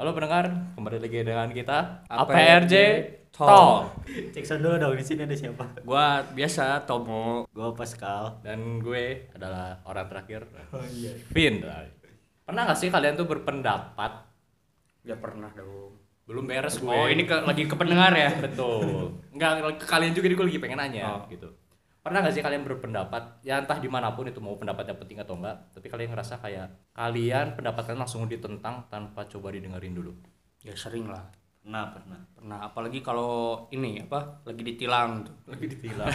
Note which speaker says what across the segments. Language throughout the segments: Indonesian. Speaker 1: Halo pendengar, kembali lagi dengan kita APRJ
Speaker 2: APRJ
Speaker 1: Talk.
Speaker 3: Cek sound dulu dong di sini ada siapa?
Speaker 2: Gua biasa Tomo.
Speaker 3: Gua Pascal.
Speaker 1: Dan gue adalah orang terakhir,
Speaker 3: Oh iya.
Speaker 1: Vin. Pernah gak sih kalian tuh berpendapat
Speaker 2: Gak pernah dong.
Speaker 1: belum beres gue?
Speaker 2: Oh ini ke- lagi ke pendengar ya?
Speaker 1: betul. Enggak kalian juga ini gue lagi pengen nanya
Speaker 2: Oh.
Speaker 1: gitu. Pernah gak sih kalian berpendapat ya entah dimanapun itu mau pendapatnya penting atau enggak, tapi kalian ngerasa kayak kalian pendapat kalian langsung ditentang tanpa coba didengerin dulu.
Speaker 2: Ya sering lah.
Speaker 3: Pernah, pernah.
Speaker 2: Pernah apalagi kalau ini apa? Lagi ditilang tuh.
Speaker 1: Lagi ditilang.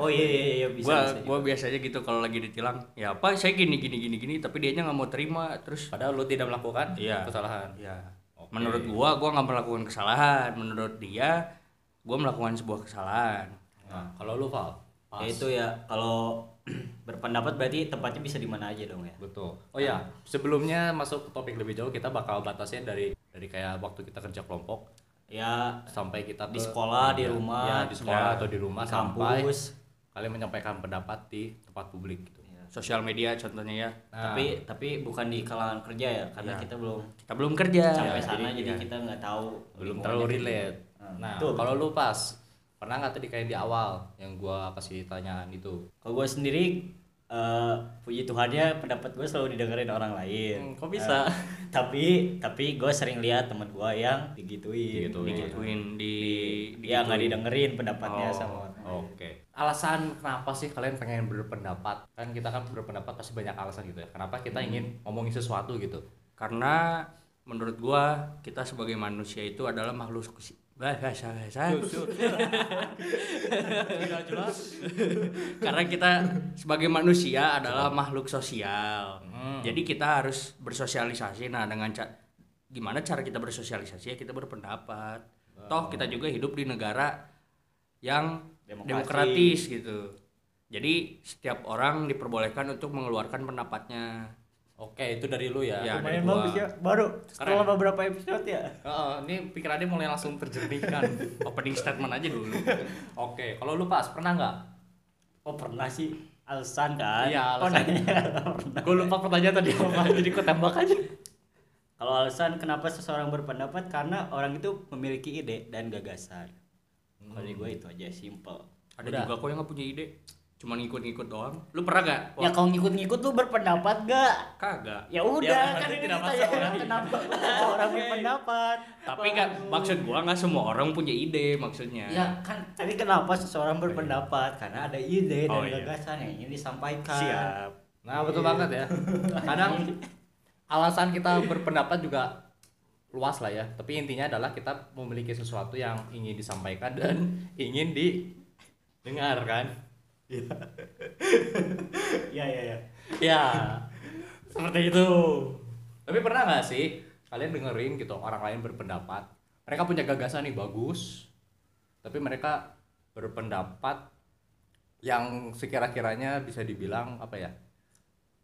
Speaker 3: Oh iya iya iya bisa
Speaker 2: gua
Speaker 3: bisa.
Speaker 2: gua biasanya gitu kalau lagi ditilang. Ya apa? Saya gini gini gini gini tapi dianya nggak mau terima terus
Speaker 1: Padahal lu tidak melakukan
Speaker 2: Iya.
Speaker 1: kesalahan.
Speaker 2: ya
Speaker 1: Oke.
Speaker 2: menurut gua gua nggak melakukan kesalahan. Menurut dia gua melakukan sebuah kesalahan.
Speaker 1: Nah, kalau lu Val,
Speaker 2: Ah.
Speaker 3: Ya itu ya kalau berpendapat berarti tempatnya bisa di mana aja dong ya.
Speaker 1: Betul. Oh ya,
Speaker 3: Kan
Speaker 1: sebelumnya masuk ke topik lebih jauh kita bakal batasnya dari dari kayak waktu kita kerja kelompok
Speaker 3: Ya
Speaker 1: sampai kita
Speaker 3: di
Speaker 1: ke-
Speaker 3: sekolah,
Speaker 1: ya,
Speaker 3: di rumah,
Speaker 1: ya, di sekolah
Speaker 3: ya,
Speaker 1: atau di rumah
Speaker 3: di
Speaker 1: sampai
Speaker 3: kampus.
Speaker 1: kalian menyampaikan pendapat di tempat publik gitu.
Speaker 3: Iya,
Speaker 2: Sosial media contohnya ya.
Speaker 1: Nah,
Speaker 3: Tapi tapi bukan di kalangan kerja ya karena kita belum
Speaker 2: Kita belum kerja.
Speaker 3: sampai
Speaker 2: Ya,
Speaker 3: sana jadi
Speaker 2: ya.
Speaker 3: kita nggak tahu
Speaker 1: belum
Speaker 3: lingkungannya
Speaker 1: terlalu
Speaker 3: kayak
Speaker 1: relate.
Speaker 3: Hmm,
Speaker 1: Nah,
Speaker 3: betul.
Speaker 1: kalau lu pas pernah nggak tadi kayak di awal yang gua kasih tanyaan itu?
Speaker 3: Kalau gue sendiri eh, puji Tuhannya pendapat gue selalu didengerin orang lain.
Speaker 1: Hmm, kok bisa?
Speaker 3: Eh, tapi tapi gue sering lihat temen gue yang digituin.
Speaker 1: Digituin.
Speaker 2: digituin di, di
Speaker 3: Ya nggak didengerin
Speaker 2: Oh.
Speaker 3: pendapatnya sama orang.
Speaker 1: Oke. Alasan kenapa sih kalian pengen berpendapat? Kan kita kan berpendapat pasti banyak alasan gitu ya. Kenapa kita
Speaker 3: Hmm.
Speaker 1: ingin ngomongin sesuatu gitu?
Speaker 2: karena menurut gua kita sebagai manusia itu adalah makhluk sosi- bahasa bahasa
Speaker 1: Tidak jelas.
Speaker 2: karena kita sebagai manusia adalah makhluk sosial
Speaker 1: Hmm.
Speaker 2: jadi kita harus bersosialisasi nah dengan ca- gimana cara kita bersosialisasi ya kita berpendapat toh kita juga hidup di negara yang
Speaker 3: Demokrasi.
Speaker 2: demokratis gitu jadi setiap orang diperbolehkan untuk mengeluarkan pendapatnya
Speaker 1: Oke, itu dari lu ya.
Speaker 2: Ya, dari
Speaker 3: Lumayan
Speaker 2: gua.
Speaker 3: bagus ya, baru setelah
Speaker 1: Keren.
Speaker 3: beberapa episode ya.
Speaker 1: Heeh, ini pikirannya mulai langsung terjernihkan.
Speaker 2: opening statement aja dulu
Speaker 1: Oke, kalau lu pas pernah nggak?
Speaker 3: Oh pernah sih alasan kan?
Speaker 1: Iya,
Speaker 3: Oh,
Speaker 1: alasan.
Speaker 3: nanya nggak pernah.
Speaker 1: Gue lupa pertanyaan tadi apa, jadi gue tembak aja.
Speaker 3: Kalau alasan kenapa seseorang berpendapat karena orang itu memiliki ide dan gagasan. Kalau di gue itu aja simple.
Speaker 2: Ada
Speaker 1: Udah.
Speaker 2: juga kok yang gak punya ide, cuma ngikut-ngikut doang. Lu pernah gak? Wah,
Speaker 3: Ya kalau ngikut-ngikut lu berpendapat gak?
Speaker 2: kagak.
Speaker 3: ya udah
Speaker 1: Ya,
Speaker 3: kan
Speaker 1: berarti tidak
Speaker 3: ini kita
Speaker 1: masuk
Speaker 3: ya,
Speaker 1: orang.
Speaker 3: kenapa orang berpendapat
Speaker 2: Tapi kan maksud gua nggak semua orang punya ide maksudnya.
Speaker 3: ya kan tapi kenapa seseorang berpendapat karena ada ide dan
Speaker 2: Oh, iya.
Speaker 3: gagasan yang ingin disampaikan
Speaker 2: Siap.
Speaker 1: Nah, betul banget ya. Kadang alasan kita berpendapat juga luas lah ya. Tapi intinya adalah kita memiliki sesuatu yang ingin disampaikan dan ingin didengar kan?
Speaker 3: ya ya ya
Speaker 1: Ya, seperti itu. Tapi pernah nggak sih kalian dengerin gitu orang lain berpendapat? Mereka punya gagasan nih bagus, tapi mereka berpendapat yang sekira-kiranya bisa dibilang apa ya?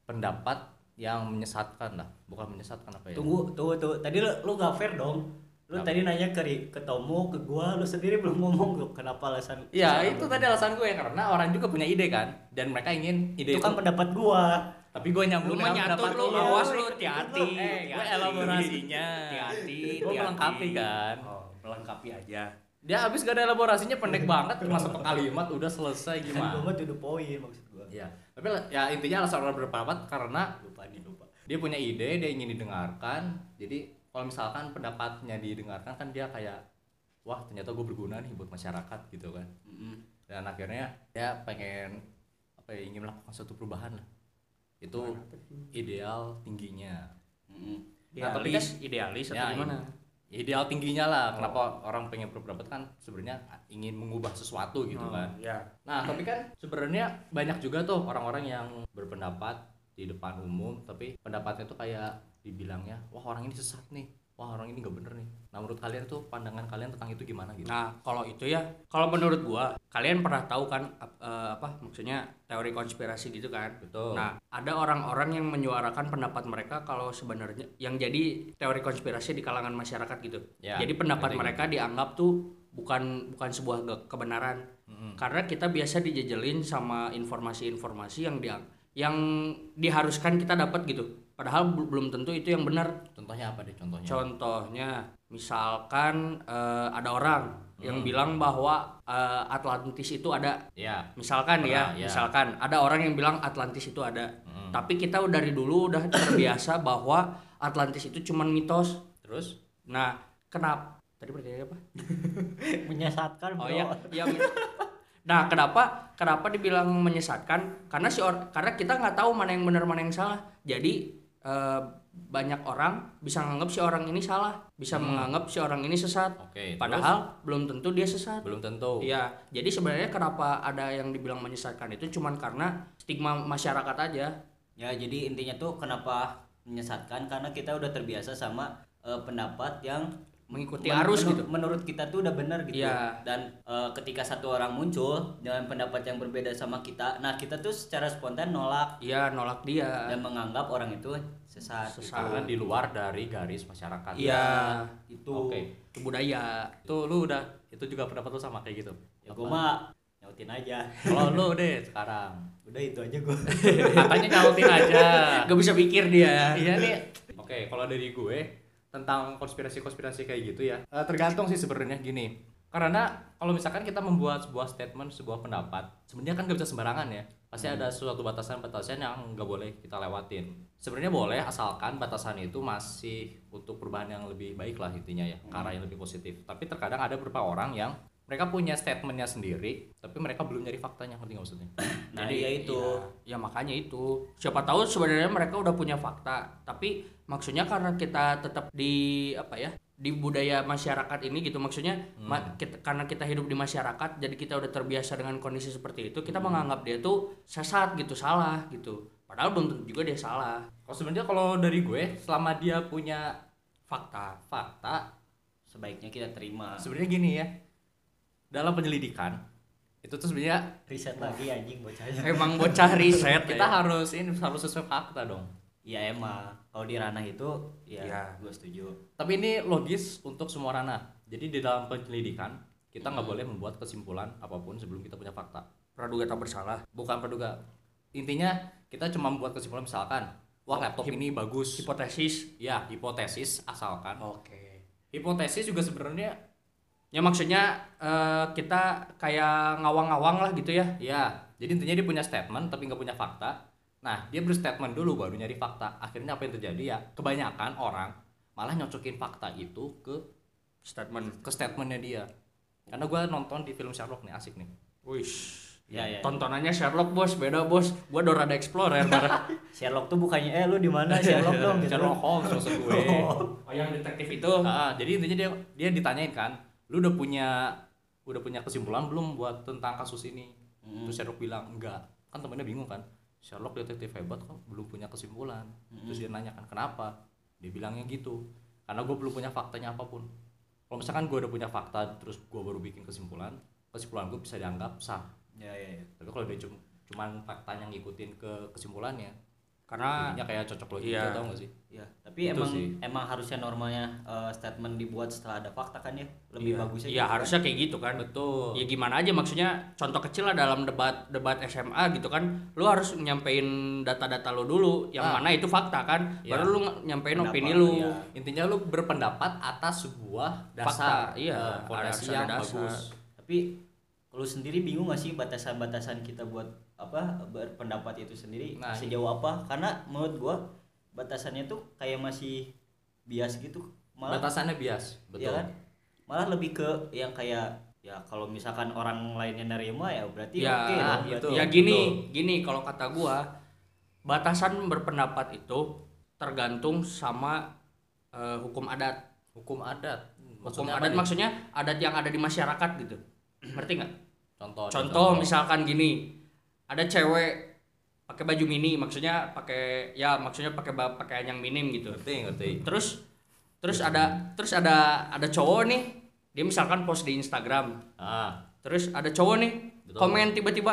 Speaker 1: Pendapat yang menyesatkan lah, bukan menyesatkan
Speaker 2: Iya.
Speaker 1: apa ya?
Speaker 3: tunggu tunggu tunggu tadi lu lu gak fair dong lu
Speaker 1: Kenapa?
Speaker 3: tadi nanya ke Ri- ke Tomo ke gua lu sendiri belum ngomong lu kenapa alasan
Speaker 2: Iya,
Speaker 1: Ya
Speaker 3: seseorang
Speaker 1: itu tadi alasan gue karena orang juga punya ide kan dan mereka ingin
Speaker 3: berpendapat.
Speaker 1: ide
Speaker 3: itu kan pendapat gua
Speaker 1: tapi gue
Speaker 2: Lu
Speaker 1: nyambung
Speaker 2: mah
Speaker 1: dengan
Speaker 2: nyatur
Speaker 1: pendapat
Speaker 2: lu,
Speaker 1: lo.
Speaker 2: awas lu, hati-hati.
Speaker 1: Eh, gue
Speaker 2: hati-hati.
Speaker 1: elaborasinya.
Speaker 2: Hati-hati.
Speaker 1: Gua
Speaker 2: hati-hati.
Speaker 1: melengkapi kan.
Speaker 2: Oh, melengkapi aja.
Speaker 1: Dia habis gak ada elaborasinya pendek banget cuma satu kalimat udah
Speaker 2: Iya,
Speaker 1: selesai
Speaker 3: kan gua
Speaker 1: gimana?
Speaker 3: mah to the point maksud gua
Speaker 1: Ya, tapi lah- ya intinya alasan orang berpendapat karena
Speaker 3: lupa nih lupa
Speaker 1: dia punya ide, dia ingin didengarkan. Jadi kalau misalkan pendapatnya didengarkan kan dia kayak wah ternyata gue berguna nih buat masyarakat gitu kan. Dan akhirnya dia pengen apa ya ingin melakukan suatu perubahan lah. Itu ideal tingginya.
Speaker 3: Mm-mm.
Speaker 2: Ya,
Speaker 1: Nah, tapi
Speaker 2: Idealis, kan idealis atau
Speaker 1: Ya,
Speaker 2: gimana?
Speaker 1: Ideal tingginya lah kenapa orang pengen berpendapat kan sebenarnya ingin mengubah sesuatu gitu
Speaker 2: Oh,
Speaker 1: kan.
Speaker 2: Ya.
Speaker 1: Nah, tapi kan sebenarnya banyak juga tuh orang-orang yang berpendapat di depan umum, tapi pendapatnya tuh kayak dibilangnya, wah orang ini sesat nih, wah orang ini nggak bener nih. Nah, menurut kalian tuh pandangan kalian tentang itu gimana gitu?
Speaker 2: Nah, kalau itu ya, kalau menurut gua, kalian pernah tahu kan ap- eh, apa maksudnya teori konspirasi gitu kan?
Speaker 1: Betul.
Speaker 2: Nah, ada orang-orang yang menyuarakan pendapat mereka kalau sebenarnya yang jadi teori konspirasi di kalangan masyarakat gitu.
Speaker 1: Ya,
Speaker 2: jadi pendapat
Speaker 1: ngerti,
Speaker 2: mereka dianggap tuh bukan bukan sebuah ge- kebenaran.
Speaker 1: Mm-mm.
Speaker 2: Karena kita biasa dijejelin sama informasi-informasi yang dia yang diharuskan kita dapat gitu padahal bel- belum tentu itu yang benar
Speaker 1: Contohnya apa deh contohnya?
Speaker 2: Contohnya, misalkan eh, ada orang
Speaker 1: Mm.
Speaker 2: yang bilang bahwa eh, Atlantis itu ada.
Speaker 1: ya.
Speaker 2: Misalkan
Speaker 1: Pernah,
Speaker 2: ya,
Speaker 1: ya. Hmm.
Speaker 2: misalkan ada orang yang bilang Atlantis itu ada. Tapi kita dari dulu udah terbiasa bahwa Atlantis itu cuman mitos.
Speaker 1: Terus
Speaker 2: Nah, kenapa? Tadi pertanyaannya apa?
Speaker 3: menyesatkan
Speaker 2: Oh
Speaker 3: bro.
Speaker 2: ya, ya. men- Nah, kenapa kenapa dibilang menyesatkan? Karena si or- karena kita nggak tahu mana yang benar mana yang salah. Jadi eh, banyak orang bisa menganggap si orang ini salah, bisa menganggap si orang ini sesat.
Speaker 1: Hmm. Oke, terus?
Speaker 2: Padahal belum tentu dia sesat.
Speaker 1: belum tentu.
Speaker 2: Iya, jadi sebenarnya kenapa ada yang dibilang menyesatkan itu cuman karena stigma masyarakat aja.
Speaker 3: Ya jadi intinya tuh kenapa menyesatkan karena kita udah terbiasa sama eh, pendapat yang
Speaker 2: Mengikuti arus gitu.
Speaker 3: Menurut kita tuh udah benar gitu.
Speaker 2: Iya.
Speaker 3: Dan eh, ketika satu orang muncul dengan pendapat yang berbeda sama kita, nah kita tuh secara spontan nolak
Speaker 2: Iya, nolak dia.
Speaker 3: dan menganggap orang itu sesat.
Speaker 2: Sesat.
Speaker 1: Karena di luar dari garis masyarakat.
Speaker 2: Iya,
Speaker 3: Itu.
Speaker 1: Oke.
Speaker 2: itu budaya.
Speaker 1: Itu lu udah itu juga pendapat lu sama kayak gitu.
Speaker 3: Ya gua mah nyautin aja.
Speaker 1: Kalau lu deh sekarang.
Speaker 3: Udah itu aja gua.
Speaker 1: Katanya nyautin aja.
Speaker 2: Gak bisa pikir dia.
Speaker 1: iya nih. Oke, kalau dari gue tentang konspirasi-konspirasi kayak gitu ya. eh, tergantung sih sebenarnya gini. Karena kalau misalkan kita membuat sebuah statement, sebuah pendapat, sebenarnya kan gak bisa sembarangan ya. Pasti ada suatu batasan-batasan yang nggak boleh kita lewatin. Sebenarnya boleh asalkan batasan itu masih untuk perubahan yang lebih baik lah intinya ya, ke arah yang lebih positif. Tapi terkadang ada beberapa orang yang mereka punya statementnya sendiri, tapi mereka belum nyari faktanya, ngerti nggak maksudnya?
Speaker 3: Nah, iya itu.
Speaker 2: Iya, ya makanya itu. Siapa tahu sebenarnya mereka udah punya fakta, tapi maksudnya karena kita tetap di apa ya? di budaya masyarakat ini gitu maksudnya
Speaker 3: Hmm.
Speaker 2: ma- kita- karena kita hidup di masyarakat jadi kita udah terbiasa dengan kondisi seperti itu
Speaker 3: Hmm.
Speaker 2: kita menganggap dia tuh sesat gitu salah gitu padahal belum tentu juga dia salah
Speaker 1: Kalau sebenarnya kalau dari gue, selama dia punya fakta, fakta
Speaker 3: Sebaiknya kita terima.
Speaker 1: sebenarnya gini ya dalam penyelidikan itu tuh sebenarnya
Speaker 3: Riset lagi anjing bocahnya.
Speaker 2: emang bocah riset ya.
Speaker 1: kita
Speaker 2: kita
Speaker 1: harus ini harus sesuai fakta dong
Speaker 3: Iya emang kalau di ranah itu ya
Speaker 2: Iya.
Speaker 3: gue setuju.
Speaker 1: tapi ini logis untuk semua ranah jadi di dalam penyelidikan kita nggak boleh membuat kesimpulan apapun sebelum kita punya fakta
Speaker 2: praduga tak bersalah
Speaker 1: bukan praduga intinya kita cuma membuat kesimpulan misalkan wah laptop ini bagus
Speaker 2: hipotesis
Speaker 1: ya hipotesis asalkan
Speaker 2: oke
Speaker 1: hipotesis juga sebenarnya
Speaker 2: ya maksudnya eh, kita kayak ngawang-ngawang lah gitu ya
Speaker 1: ya jadi intinya dia punya statement tapi nggak punya fakta nah dia berstatement dulu baru nyari fakta akhirnya apa yang terjadi ya kebanyakan orang malah nyocokin fakta itu ke
Speaker 2: statement
Speaker 1: ke statementnya dia karena gue nonton di film Sherlock nih asik nih
Speaker 2: Wish.
Speaker 3: Ya, ya.
Speaker 2: Tontonannya Sherlock bos, beda bos. Gua Dora the Explorer. Bara.
Speaker 3: Sherlock tuh bukannya eh lu di mana Sherlock dong gitu.
Speaker 1: Sherlock Holmes maksud gue
Speaker 2: oh yang detektif itu.
Speaker 1: Ah, jadi intinya dia dia ditanyain kan lu udah punya udah punya kesimpulan belum buat tentang kasus ini terus Sherlock bilang enggak kan temennya bingung kan Sherlock detektif hebat kok belum punya kesimpulan terus dia nanya kan kenapa dia bilangnya gitu karena gue belum punya faktanya apapun kalau misalkan gue udah punya fakta terus gue baru bikin kesimpulan kesimpulan gue bisa dianggap sah
Speaker 3: Ya ya. ya.
Speaker 1: tapi kalau dia cum- cuman fakta yang ngikutin ke kesimpulannya
Speaker 2: Karena
Speaker 1: jadinya kayak cocok logika
Speaker 2: Ah. Iya.
Speaker 1: tau gak sih
Speaker 3: Ya, tapi
Speaker 1: Itu
Speaker 3: emang
Speaker 1: sih.
Speaker 3: emang harusnya normalnya eh, statement dibuat setelah ada fakta kan ya. Lebih bagusnya.
Speaker 2: ya
Speaker 3: gitu.
Speaker 2: harusnya kayak gitu kan.
Speaker 1: betul
Speaker 2: Ya gimana aja maksudnya contoh kecil lah dalam debat debat SMA gitu kan. Lu harus nyampein data-data lu dulu yang
Speaker 1: Ah.
Speaker 2: mana itu fakta kan.
Speaker 1: Ya.
Speaker 2: Baru lu nge- nyampein
Speaker 3: Pendapat,
Speaker 2: opini lu.
Speaker 3: ya.
Speaker 1: intinya lu berpendapat atas sebuah dasar
Speaker 2: Fakta,
Speaker 1: eh,
Speaker 2: iya.
Speaker 1: fondasi
Speaker 2: Ada
Speaker 1: yang
Speaker 2: dasar.
Speaker 1: bagus
Speaker 3: Tapi lu sendiri bingung gak sih batasan-batasan kita buat apa berpendapat itu sendiri
Speaker 1: Nah,
Speaker 3: sejauh apa? Karena menurut gua batasannya tuh kayak masih bias gitu. Malah
Speaker 1: batasannya bias
Speaker 3: Iya
Speaker 1: betul
Speaker 3: kan? Malah lebih ke yang kayak ya kalau misalkan orang lainnya nerima ya berarti
Speaker 2: Ya,
Speaker 3: oke dong,
Speaker 1: itu.
Speaker 3: berarti
Speaker 2: ya
Speaker 1: Iya, Betul,
Speaker 2: gini, gini kalau kata gua batasan berpendapat itu tergantung sama eh, hukum adat.
Speaker 1: hukum adat
Speaker 2: Hukum
Speaker 1: Maksudnya apa
Speaker 2: adat
Speaker 1: nih?
Speaker 2: maksudnya adat yang ada di masyarakat gitu. Ngerti nggak?
Speaker 1: contoh
Speaker 2: Contoh misalkan gini, ada cewek pakai baju mini, maksudnya pakai ya maksudnya pakai ba- pakaian yang minim gitu.
Speaker 1: ngerti ngerti
Speaker 2: Terus terus
Speaker 1: Iya.
Speaker 2: ada terus ada ada cowok nih, dia misalkan post di Instagram.
Speaker 1: ah
Speaker 2: Terus ada cowok nih
Speaker 1: Betul.
Speaker 2: komen tiba-tiba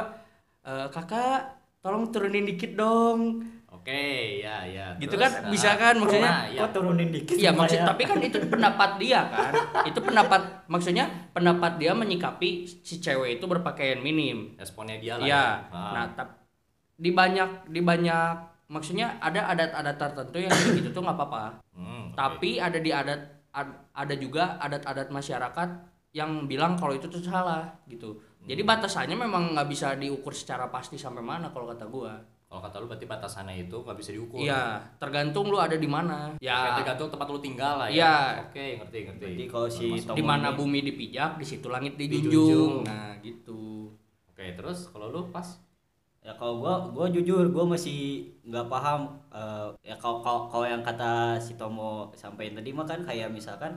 Speaker 2: "Eh, kakak tolong turunin dikit dong
Speaker 1: oke ya ya
Speaker 2: gitu
Speaker 1: Terus,
Speaker 2: kan
Speaker 1: ah,
Speaker 2: bisa kan maksudnya
Speaker 1: nah, ya.
Speaker 3: Kok turunin dikit?
Speaker 2: Iya maksud
Speaker 3: supaya-
Speaker 2: tapi kan itu pendapat dia kan. itu pendapat maksudnya pendapat dia menyikapi si cewek itu berpakaian minim.
Speaker 1: responnya dia lah
Speaker 2: Iya.
Speaker 1: Ah.
Speaker 2: Nah, tap- di banyak di banyak maksudnya ada adat-adat tertentu yang kayak gitu tuh nggak apa-apa
Speaker 1: Hmm, oke.
Speaker 2: tapi ada di adat ad- ada juga adat-adat masyarakat yang bilang kalau itu tuh salah gitu jadi
Speaker 1: Hmm.
Speaker 2: batasannya memang nggak bisa diukur secara pasti sampai mana kalau kata gua
Speaker 1: Kalau kata lu berarti batasannya itu nggak bisa diukur.
Speaker 2: iya tergantung lu ada di mana
Speaker 1: Kayak
Speaker 2: ya
Speaker 1: tergantung tempat lu tinggal lah ya.
Speaker 2: Iya.
Speaker 1: Oke, ngerti ngerti.
Speaker 3: Jadi kalau si
Speaker 1: Termasuk.
Speaker 3: Tom-
Speaker 2: di mana bumi dipijak di situ langit
Speaker 1: Dijunjung.
Speaker 2: dijunjung nah gitu
Speaker 1: Oke, terus kalau lu pas
Speaker 3: ya kalau gua gua jujur gua masih nggak paham eh, ya kalau kalau kalau yang kata si Tomo sampaikan tadi mah kan kayak misalkan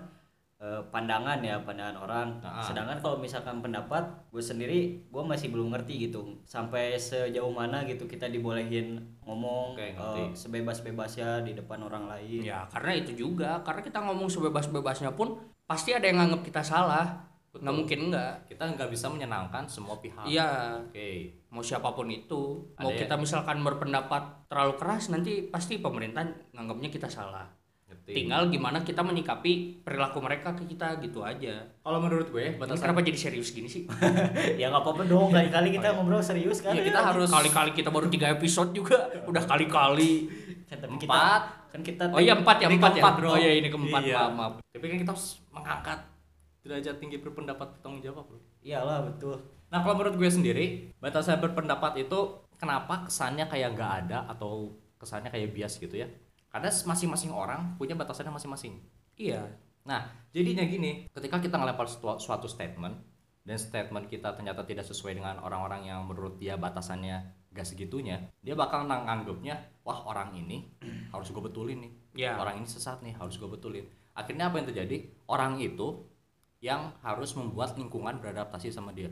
Speaker 3: eh, pandangan ya pandangan orang
Speaker 1: Ah.
Speaker 3: sedangkan kalau misalkan pendapat gue sendiri gua masih belum ngerti gitu sampai sejauh mana gitu kita dibolehin ngomong
Speaker 1: Oke, ngerti.
Speaker 3: eh, sebebas-bebasnya di depan orang
Speaker 1: Iya.
Speaker 3: lain
Speaker 2: Ya karena itu juga, karena kita ngomong sebebas-bebasnya pun pasti ada yang nganggap kita salah.
Speaker 1: Betul. Nah.
Speaker 2: Nggak mungkin nggak.
Speaker 1: kita nggak bisa menyenangkan semua pihak.
Speaker 2: Iya,
Speaker 1: Oke.
Speaker 2: mau siapapun itu,
Speaker 1: Ada
Speaker 2: mau
Speaker 1: ya?
Speaker 2: kita misalkan berpendapat terlalu keras nanti pasti pemerintah nganggapnya kita salah.
Speaker 1: Ngerti.
Speaker 2: Tinggal gimana kita menyikapi perilaku mereka ke kita gitu aja.
Speaker 1: Kalau menurut gue
Speaker 2: Ini
Speaker 1: batasan
Speaker 2: kenapa jadi serius gini sih?
Speaker 3: ya nggak apa-apa
Speaker 1: Oh,
Speaker 3: dong kali-kali
Speaker 1: iya.
Speaker 3: kita ngobrol serius kan
Speaker 2: Ya, kita harus kali-kali kita baru tiga episode juga, udah kali-kali.
Speaker 3: kan, tapi kita
Speaker 1: Empat.
Speaker 3: kan kita
Speaker 2: Oh iya empat ya
Speaker 1: Ini
Speaker 2: empat
Speaker 1: keempat,
Speaker 2: ya.
Speaker 1: bro.
Speaker 2: Oh iya ini keempat
Speaker 1: Iya.
Speaker 2: maaf maaf.
Speaker 1: Tapi kan kita harus mengangkat derajat tinggi berpendapat bertanggung jawab, Bro.
Speaker 3: iyalah betul
Speaker 1: Nah, kalau menurut gue sendiri, batasan berpendapat itu kenapa kesannya kayak nggak ada atau kesannya kayak bias gitu ya? Karena masing-masing orang punya batasannya masing-masing.
Speaker 2: Iya.
Speaker 1: Nah, jadinya gini, ketika kita ngelempar suatu, suatu statement dan statement kita ternyata tidak sesuai dengan orang-orang yang menurut dia batasannya gak segitunya, dia bakal nang- nganggepnya, wah orang ini harus gue betulin nih,
Speaker 2: Ya.
Speaker 1: orang ini sesat nih, harus gue betulin. Akhirnya apa yang terjadi? Orang itu yang harus membuat lingkungan beradaptasi sama dia,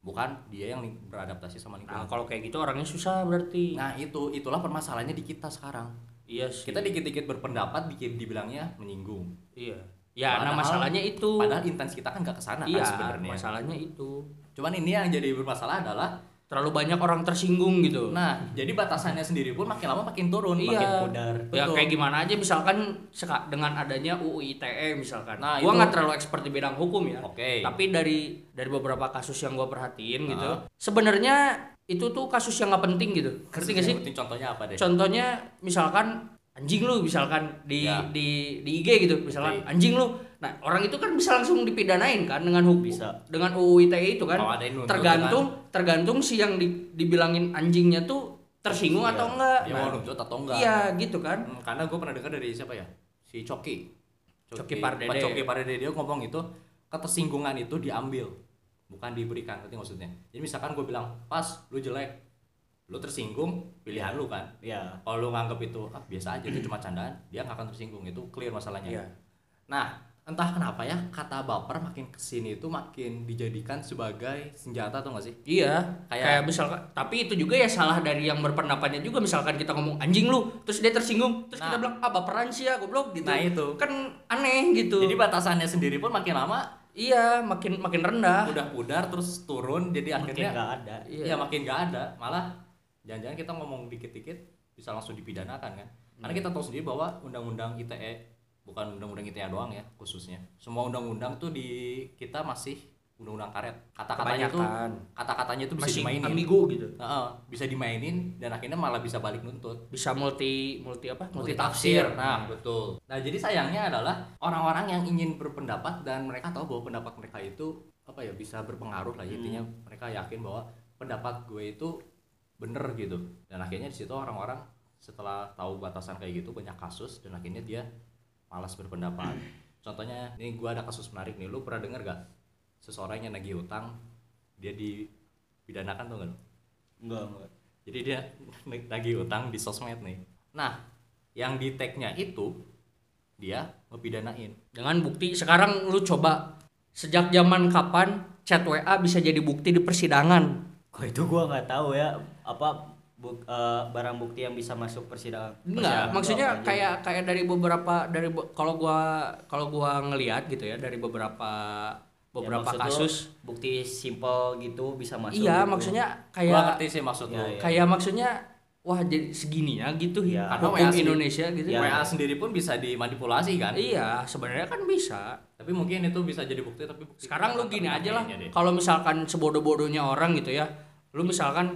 Speaker 1: bukan dia yang ling- beradaptasi sama
Speaker 2: Nah
Speaker 1: lingkungan. Nah,
Speaker 2: kalau kayak gitu orangnya susah berarti.
Speaker 1: itu itulah permasalahannya di kita sekarang.
Speaker 2: Iya sih.
Speaker 1: Nah, Kita dikit-dikit berpendapat, dikit dibilangnya menyinggung.
Speaker 2: Iya. Ya, nah
Speaker 1: Padahal-
Speaker 2: masalahnya itu.
Speaker 1: Padahal intens kita kan gak kesana
Speaker 2: iya,
Speaker 1: kan sebenarnya.
Speaker 2: masalahnya itu.
Speaker 1: Cuman ini yang jadi bermasalah adalah
Speaker 2: Terlalu banyak orang tersinggung gitu.
Speaker 1: nah, jadi batasannya sendiri pun makin lama makin turun,
Speaker 2: iya.
Speaker 1: makin
Speaker 3: pudar.
Speaker 2: Ya
Speaker 1: Betul.
Speaker 2: kayak gimana aja misalkan seka- dengan adanya UU ITE E, misalkan.
Speaker 1: Nah,
Speaker 2: gua
Speaker 1: itu-
Speaker 2: nggak terlalu expert di bidang hukum ya.
Speaker 1: Oke.
Speaker 2: Tapi dari dari beberapa kasus yang gua perhatiin gitu,
Speaker 1: Ah.
Speaker 2: sebenarnya itu tuh kasus yang nggak penting gitu. Ngerti gak sih?
Speaker 1: Sebutin contohnya apa deh?
Speaker 2: Contohnya misalkan anjing lu misalkan di
Speaker 1: Ya.
Speaker 2: di di IG gitu misalkan
Speaker 1: Oke.
Speaker 2: anjing lu. Nah, orang itu kan bisa langsung dipidanain kan dengan hukum
Speaker 3: Bisa.
Speaker 2: dengan UU ITE itu kan.
Speaker 1: Kalau ada yang nuntut,
Speaker 2: tergantung tergantung si yang di- dibilangin anjingnya tuh tersinggung
Speaker 1: Iya.
Speaker 2: atau enggak.
Speaker 1: Dia
Speaker 2: Nah,
Speaker 1: mau nuntut atau enggak?
Speaker 2: Iya, gitu kan.
Speaker 1: Hmm, karena gue pernah dengar dari siapa ya? Si Coki.
Speaker 2: Coki Pardede.
Speaker 1: Pak Coki Pardede dia ngomong itu ketersinggungan itu diambil, bukan diberikan. Ngerti maksudnya? Jadi misalkan gue bilang, "Pas, lu jelek." Lu tersinggung, pilihan lu kan.
Speaker 3: ya
Speaker 1: kalau lu nganggap itu ah, biasa aja itu cuma candaan dia nggak akan tersinggung itu clear masalahnya
Speaker 2: Iya.
Speaker 1: nah entah kenapa ya kata baper makin kesini itu makin dijadikan sebagai senjata atau nggak sih
Speaker 2: Iya, kayak,
Speaker 1: Kayak-
Speaker 2: misalkan tapi itu juga ya salah dari yang berpendapatnya juga misalkan kita ngomong anjing lu, terus dia tersinggung, terus
Speaker 1: Nah.
Speaker 2: kita bilang ah baperan sih ya goblok gitu.
Speaker 1: Nah, itu.
Speaker 2: kan aneh gitu.
Speaker 1: jadi batasannya sendiri pun makin lama
Speaker 2: iya, makin makin rendah.
Speaker 1: udah pudar terus turun jadi
Speaker 3: makin
Speaker 1: akhirnya
Speaker 3: nggak ada
Speaker 1: iya. makin nggak ada malah jangan-jangan kita ngomong dikit-dikit bisa langsung dipidanakan kan karena kita tahu sendiri bahwa undang-undang ITE bukan undang-undang ITE doang ya khususnya semua undang-undang tuh di kita masih undang-undang karet kata-katanya tuh
Speaker 2: Kebanyakan.
Speaker 1: kata-katanya tuh bisa
Speaker 2: Masih
Speaker 1: dimainin
Speaker 2: ambigu gitu.
Speaker 1: Heeh, bisa dimainin dan akhirnya malah bisa balik nuntut
Speaker 2: Bisa multi multi apa?
Speaker 1: multi tafsir nah betul nah jadi sayangnya adalah orang-orang yang ingin berpendapat dan mereka tahu bahwa pendapat mereka itu apa ya bisa berpengaruh lah intinya mereka yakin bahwa pendapat gue itu bener gitu dan akhirnya di situ orang-orang setelah tahu batasan kayak gitu banyak kasus dan akhirnya dia malas berpendapat contohnya nih gue ada kasus menarik nih lu pernah denger gak seseorang yang nagih hutang dia dipidanakan tuh gak lu?
Speaker 3: enggak enggak
Speaker 1: Jadi dia nagih utang di sosmed nih. Nah, yang di tag-nya itu dia ngepidanain.
Speaker 2: Dengan bukti sekarang lu coba sejak zaman kapan chat WA bisa jadi bukti di persidangan?
Speaker 3: kok itu gua nggak tahu ya apa buk- eh, barang bukti yang bisa masuk persidangan Persidangan
Speaker 2: Enggak,
Speaker 3: itu apa
Speaker 2: maksudnya
Speaker 3: aja?
Speaker 2: kayak kayak dari beberapa dari be- kalau gua kalau gua ngelihat gitu ya dari beberapa
Speaker 3: Ya,
Speaker 2: beberapa
Speaker 3: maksud lu
Speaker 2: kasus.
Speaker 3: bukti simple gitu bisa masuk
Speaker 2: Iya,
Speaker 3: gitu.
Speaker 2: maksudnya
Speaker 1: Gua
Speaker 2: kayak
Speaker 1: ngerti sih maksud lu.
Speaker 3: Iya, iya.
Speaker 2: kayak maksudnya wah jadi segininya gitu
Speaker 3: Iya.
Speaker 2: ya.
Speaker 1: Karena
Speaker 2: Hukum
Speaker 1: WA sih.
Speaker 2: Indonesia gitu.
Speaker 3: Iya.
Speaker 1: WA sendiri pun bisa dimanipulasi kan?
Speaker 2: Iya, sebenarnya kan bisa.
Speaker 1: Tapi mungkin itu bisa jadi bukti tapi bukti
Speaker 2: sekarang lu gini aja lah
Speaker 1: Iya, deh.
Speaker 2: kalau misalkan sebodoh-bodohnya orang gitu ya lu misalkan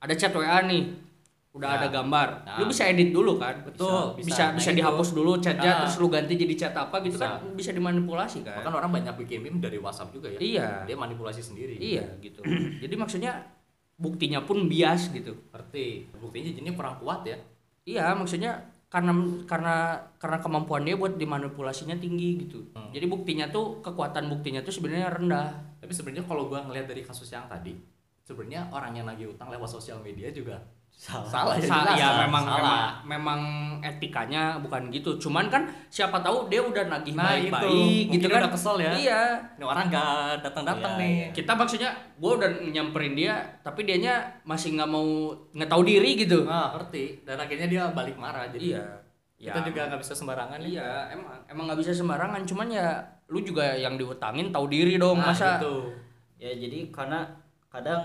Speaker 2: ada chat WA nih udah
Speaker 1: Ya.
Speaker 2: ada gambar
Speaker 1: Nah.
Speaker 2: lu bisa edit dulu kan
Speaker 1: Betul, bisa.
Speaker 2: bisa bisa,
Speaker 1: Nah,
Speaker 2: bisa
Speaker 1: itu.
Speaker 2: dihapus dulu chatnya
Speaker 1: Nah.
Speaker 2: terus lu ganti jadi chat apa gitu
Speaker 1: Bisa.
Speaker 2: kan bisa dimanipulasi kan
Speaker 1: Bahkan orang banyak bikin meme dari WhatsApp juga ya.
Speaker 2: Iya.
Speaker 1: Dia manipulasi sendiri.
Speaker 2: iya gitu jadi maksudnya buktinya pun bias gitu
Speaker 1: Ngerti. Buktinya jinnya kurang kuat ya.
Speaker 2: iya maksudnya karena karena karena kemampuan dia buat dimanipulasinya tinggi gitu
Speaker 1: Hmm.
Speaker 2: jadi buktinya tuh kekuatan buktinya tuh sebenarnya rendah
Speaker 1: Tapi sebenarnya kalau gua ngelihat dari kasus yang tadi, sebenarnya orang yang nagih utang lewat sosial media juga
Speaker 3: Salah.
Speaker 1: salah ya.
Speaker 2: Sa-
Speaker 1: jelas
Speaker 2: ya
Speaker 1: lah.
Speaker 2: memang,
Speaker 1: salah.
Speaker 2: memang memang etikanya bukan gitu cuman kan siapa tahu dia udah nagih
Speaker 1: Nah, itu.
Speaker 2: baik-baik gitu
Speaker 1: Mungkin
Speaker 2: kan
Speaker 1: udah kesel ya.
Speaker 2: iya
Speaker 1: Ini orang nggak datang-datang
Speaker 3: Iya,
Speaker 1: nih.
Speaker 3: iya.
Speaker 2: kita maksudnya gue udah nyamperin dia tapi dianya masih nggak mau nggak tahu diri gitu
Speaker 1: Nah, ngerti. Dan akhirnya dia balik marah. Jadi
Speaker 2: iya
Speaker 1: kita juga nggak bisa sembarangan nih.
Speaker 2: iya emang emang nggak bisa sembarangan cuman ya lu juga yang diutangin tahu diri dong
Speaker 1: Nah,
Speaker 2: Iya, masa
Speaker 1: gitu.
Speaker 3: ya jadi karena kadang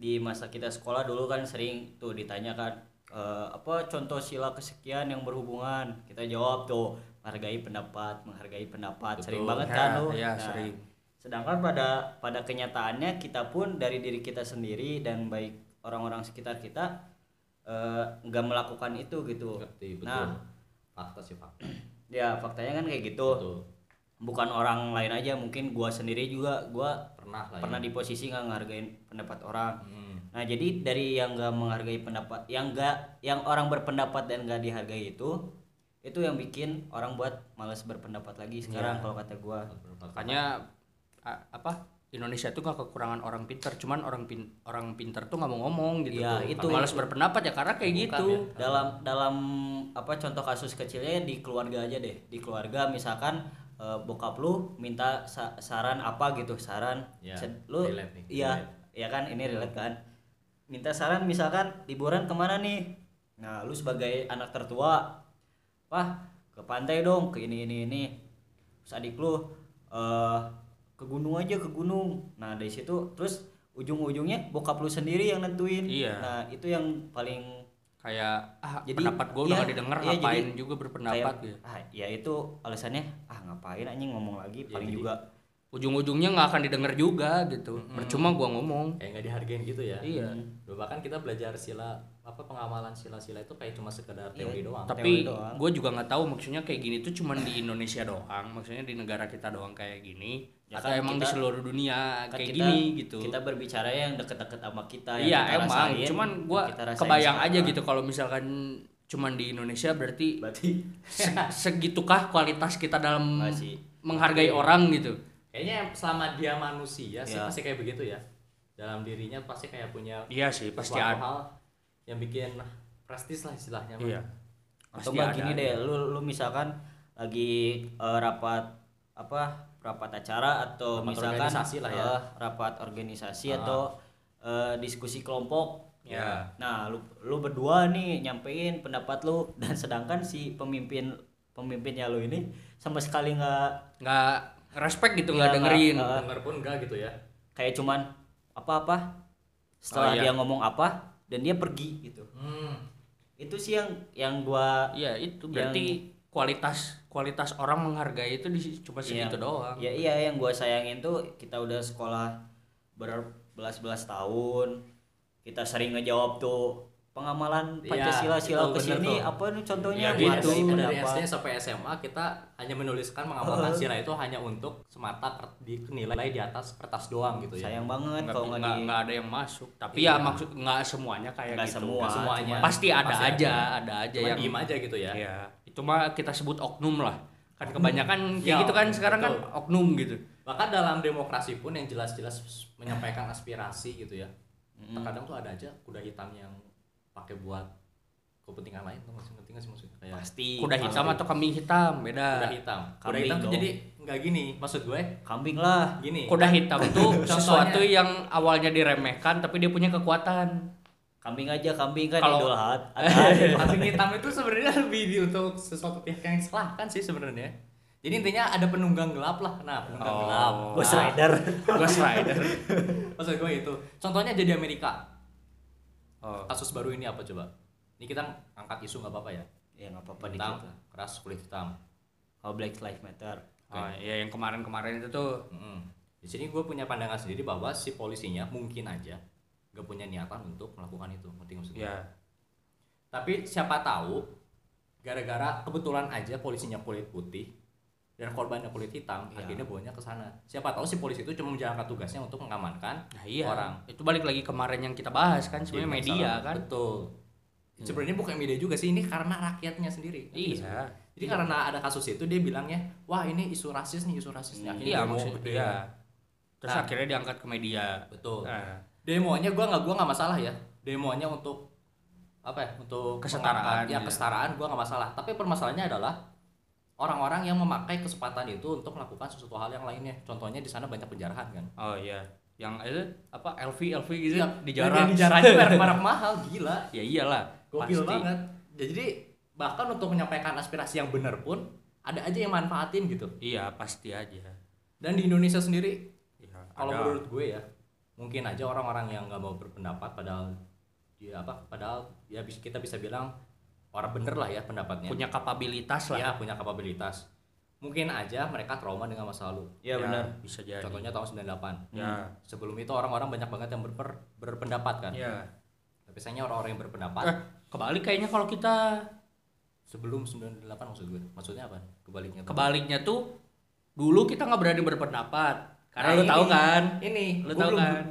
Speaker 3: di masa kita sekolah dulu kan sering tuh ditanyakan "Eh, apa contoh sila kesekian yang berhubungan kita jawab tuh menghargai pendapat menghargai pendapat sering
Speaker 1: Betul.
Speaker 3: banget kan
Speaker 2: Ya,
Speaker 3: tuh
Speaker 2: ya, sering.
Speaker 3: sedangkan pada pada kenyataannya kita pun dari diri kita sendiri dan baik orang-orang sekitar kita eh, nggak melakukan itu gitu
Speaker 1: Ngerti, betul.
Speaker 3: nah
Speaker 1: Fakta sih fakta.
Speaker 3: ya faktanya kan kayak gitu
Speaker 1: Betul.
Speaker 3: bukan orang lain aja mungkin gua sendiri juga gua
Speaker 1: Pernah lah. ya.
Speaker 3: pernah di posisi nggak ngehargain pendapat orang
Speaker 1: Hmm.
Speaker 3: Nah, jadi dari yang gak menghargai pendapat, yang gak yang orang berpendapat dan gak dihargai itu itu yang bikin orang buat malas berpendapat lagi sekarang kalau kata gua.
Speaker 2: makanya a- apa Indonesia itu gak kekurangan orang pinter cuman orang pin orang pinter tuh nggak mau ngomong gitu
Speaker 3: Iya, itu.
Speaker 2: malas berpendapat ya karena kayak
Speaker 1: Bukan
Speaker 2: gitu
Speaker 1: ya.
Speaker 3: Dalam dalam apa contoh kasus kecilnya ya di keluarga aja deh. Di keluarga misalkan eh, bokap lu minta sa- saran apa gitu, saran
Speaker 1: Ya,
Speaker 3: Sed- lu
Speaker 1: relate nih,
Speaker 3: iya, iya kan ini relate kan. Minta saran misalkan liburan kemana nih? Nah, lu sebagai anak tertua Wah, ke pantai dong, ke ini ini ini. Terus adik lu eh ke gunung aja ke gunung. Nah, dari situ terus ujung-ujungnya bokap lu sendiri yang nentuin.
Speaker 2: Iya.
Speaker 3: Nah, itu yang paling
Speaker 2: kayak ah
Speaker 3: Jadi,
Speaker 2: pendapat gue udah
Speaker 3: iya,
Speaker 2: gak didengar
Speaker 3: iya,
Speaker 2: ngapain
Speaker 3: jadi
Speaker 2: juga berpendapat
Speaker 3: kayak,
Speaker 2: gitu.
Speaker 3: ah, ya itu alasannya ah ngapain anjing ngomong lagi
Speaker 1: Ya,
Speaker 3: paling
Speaker 1: jadi-
Speaker 3: juga
Speaker 2: ujung-ujungnya nggak akan didengar juga gitu percuma gua ngomong
Speaker 1: Kayak nggak dihargain gitu ya.
Speaker 2: iya
Speaker 1: Loh, bahkan kita belajar sila apa pengamalan sila-sila itu kayak cuma sekedar
Speaker 2: Iya.
Speaker 1: teori doang.
Speaker 2: tapi
Speaker 3: Teori doang.
Speaker 2: gue juga nggak tahu maksudnya kayak gini tuh cuman di Indonesia doang maksudnya di negara kita doang kayak gini
Speaker 3: Ya
Speaker 2: atau
Speaker 3: kan
Speaker 2: emang di
Speaker 3: kita-
Speaker 2: seluruh dunia
Speaker 3: kan
Speaker 2: kayak
Speaker 3: kita-
Speaker 2: gini gitu
Speaker 3: Kita berbicara yang deket-deket sama kita yang
Speaker 2: iya
Speaker 3: kita
Speaker 2: emang
Speaker 3: rasain,
Speaker 2: cuman
Speaker 3: yang
Speaker 2: gua
Speaker 3: kita rasain
Speaker 2: kebayang
Speaker 3: sekarang.
Speaker 2: aja gitu kalau misalkan cuman di Indonesia berarti
Speaker 3: Berarti
Speaker 2: se- segitukah kualitas kita dalam
Speaker 3: Masih.
Speaker 2: menghargai orang gitu
Speaker 1: Kayaknya selama dia manusia sih
Speaker 3: Iya.
Speaker 1: pasti kayak begitu ya. Dalam dirinya pasti kayak punya
Speaker 2: iya sih pasti
Speaker 1: suatu
Speaker 2: ada
Speaker 1: hal yang bikin prestis lah istilahnya. Mas.
Speaker 2: iya Pasti
Speaker 3: atau nggak
Speaker 2: ada
Speaker 3: gini
Speaker 2: aja.
Speaker 3: deh lu lu misalkan lagi eh, rapat apa rapat acara atau
Speaker 1: Rapat
Speaker 3: misalkan
Speaker 1: organisasi lah ya.
Speaker 3: eh, rapat organisasi
Speaker 1: Ah.
Speaker 3: atau eh, diskusi kelompok
Speaker 1: Ya.
Speaker 3: nah lu lu berdua nih nyampein pendapat lu dan sedangkan si pemimpin pemimpinnya lu ini sama sekali nggak
Speaker 2: nggak respect gitu
Speaker 3: Iya,
Speaker 2: nggak
Speaker 3: nggak-
Speaker 2: dengerin
Speaker 3: nggak-
Speaker 1: Dengar pun enggak gitu ya.
Speaker 3: kayak cuman apa-apa setelah
Speaker 2: Oh, iya.
Speaker 3: dia ngomong apa dan dia pergi gitu
Speaker 1: Hmm.
Speaker 3: itu sih yang yang gua
Speaker 2: Iya itu
Speaker 3: Yang-
Speaker 2: berarti kualitas kualitas orang menghargai itu di cuma segitu
Speaker 3: Iya.
Speaker 2: doang.
Speaker 3: Ya iya yang gua sayangin tuh kita udah sekolah berbelas-belas tahun. Kita sering ngejawab tuh pengamalan
Speaker 1: Iya,
Speaker 3: Pancasila sila
Speaker 1: itu
Speaker 3: ke
Speaker 1: bener
Speaker 3: sini
Speaker 1: tuh.
Speaker 3: apa nih contohnya
Speaker 2: Ya,
Speaker 1: Iya,
Speaker 2: gitu.
Speaker 1: gitu. Dari
Speaker 3: Kenapa?
Speaker 1: SD sampai SMA kita hanya menuliskan mengamalkan sila itu hanya untuk semata per- dinilai di atas kertas doang gitu ya.
Speaker 3: Sayang
Speaker 2: Nggak,
Speaker 3: banget kan kalau nggak
Speaker 2: nggak-
Speaker 3: di
Speaker 2: nggak ada yang masuk. Tapi
Speaker 1: Iya.
Speaker 2: ya maksud nggak semuanya kayak
Speaker 3: Nggak
Speaker 2: gitu.
Speaker 3: semua,
Speaker 2: Nggak
Speaker 1: cuman-
Speaker 2: Pasti ada
Speaker 1: pasti
Speaker 2: aja,
Speaker 1: ada.
Speaker 2: ada, aja
Speaker 1: Cuma
Speaker 2: yang
Speaker 1: diem aja gitu ya.
Speaker 2: Iya. Itu mah kita sebut oknum lah. Kan kebanyakan kayak
Speaker 1: Iya,
Speaker 2: gitu kan
Speaker 1: oknum,
Speaker 2: sekarang kan
Speaker 1: betul.
Speaker 2: oknum gitu.
Speaker 1: Bahkan dalam demokrasi pun yang jelas-jelas menyampaikan aspirasi gitu ya. Terkadang tuh ada aja kuda hitam yang pakai buat kepentingan lain tuh masih ngerti nggak sih maksudnya kayak
Speaker 3: pasti
Speaker 2: Kuda hitam atau kambing hitam beda.
Speaker 1: kuda hitam. Kuda
Speaker 3: Kambing
Speaker 1: hitam tuh
Speaker 3: dong.
Speaker 1: jadi nggak gini maksud gue
Speaker 3: kambing lah.
Speaker 1: gini.
Speaker 2: Kuda hitam tuh
Speaker 1: Contohnya.
Speaker 2: sesuatu yang awalnya diremehkan tapi dia punya kekuatan.
Speaker 3: Kambing aja kambing kan
Speaker 2: Kalau-
Speaker 3: Idul Adha.
Speaker 1: Kambing Iya. hitam itu sebenarnya lebih di- untuk sesuatu pihak yang salah kan sih sebenarnya. Jadi intinya ada penunggang gelap lah. Nah, penunggang
Speaker 2: Oh.
Speaker 1: gelap.
Speaker 3: Ghost
Speaker 1: Nah,
Speaker 3: Rider.
Speaker 2: Ghost Rider.
Speaker 1: Maksud gue itu. Contohnya jadi Amerika.
Speaker 2: Oh.
Speaker 1: Kasus baru ini apa coba? Ini kita angkat isu nggak apa-apa ya.
Speaker 3: ya nggak apa-apa dikit
Speaker 1: Tentang
Speaker 3: lah.
Speaker 1: keras kulit hitam.
Speaker 3: Kalau Black Lives Matter.
Speaker 2: Oh, iya yang kemarin-kemarin itu tuh
Speaker 1: Mm-mm. Di sini gue punya pandangan sendiri bahwa si polisinya mungkin aja gak punya niatan untuk melakukan itu ngerti nggak maksud gue?
Speaker 2: ya
Speaker 1: tapi siapa tahu gara-gara kebetulan aja polisinya kulit putih dan korbannya kulit hitam
Speaker 3: Iya.
Speaker 1: akhirnya bawanya ke sana siapa tahu si polisi itu cuma menjalankan tugasnya untuk mengamankan
Speaker 2: nah iya
Speaker 1: orang
Speaker 2: itu balik lagi kemarin yang kita bahas kan sebenarnya
Speaker 1: Jadi
Speaker 2: media
Speaker 1: masalah.
Speaker 2: kan
Speaker 1: betul sebenarnya bukan media juga sih ini karena rakyatnya sendiri
Speaker 2: iya
Speaker 1: jadi karena ada kasus itu dia bilangnya wah ini isu rasis nih isu rasis nih akhirnya
Speaker 2: iya
Speaker 1: demo
Speaker 2: maksudnya
Speaker 1: gede.
Speaker 2: iya terus
Speaker 1: Nah.
Speaker 2: akhirnya diangkat ke media
Speaker 1: betul
Speaker 2: nah,
Speaker 1: demonya gua nggak gua nggak masalah ya demonya untuk apa ya untuk
Speaker 2: Kesetaraan,
Speaker 1: mengangkat- ya
Speaker 2: iya.
Speaker 1: kesetaraan gua nggak masalah tapi permasalahannya adalah orang-orang yang memakai kesempatan itu untuk melakukan sesuatu hal yang lainnya contohnya di sana banyak penjarahan kan
Speaker 2: oh iya yang itu apa LV LV gitu
Speaker 1: Iya,
Speaker 2: dijarah
Speaker 1: di jarah itu merek-merek mahal gila
Speaker 2: ya iyalah
Speaker 1: gokil banget Ya, jadi bahkan untuk menyampaikan aspirasi yang benar pun ada aja yang manfaatin gitu
Speaker 2: iya pasti aja
Speaker 1: dan di Indonesia sendiri
Speaker 2: Iya,
Speaker 1: kalau
Speaker 2: ada.
Speaker 1: menurut gue ya mungkin aja orang-orang yang nggak mau berpendapat padahal dia apa padahal ya bis- kita bisa bilang orang bener lah ya pendapatnya
Speaker 2: punya kapabilitas lah
Speaker 1: ya punya kapabilitas mungkin aja mereka trauma dengan masa lalu
Speaker 3: Iya benar.
Speaker 2: Ya, bisa jadi
Speaker 1: contohnya tahun 98
Speaker 2: ya
Speaker 1: sebelum itu orang-orang banyak banget yang berper- berpendapat kan
Speaker 2: ya
Speaker 1: tapi sayangnya orang-orang yang berpendapat
Speaker 2: eh kebalik kayaknya kalau kita
Speaker 1: sebelum 98 maksud gue maksudnya apa kebaliknya tuh.
Speaker 2: kebaliknya tuh dulu kita nggak berani berpendapat karena
Speaker 1: Nah,
Speaker 2: lu tahu
Speaker 1: ini-
Speaker 2: kan
Speaker 1: ini
Speaker 2: Lu
Speaker 1: gua
Speaker 2: tahu
Speaker 1: belum-
Speaker 2: kan?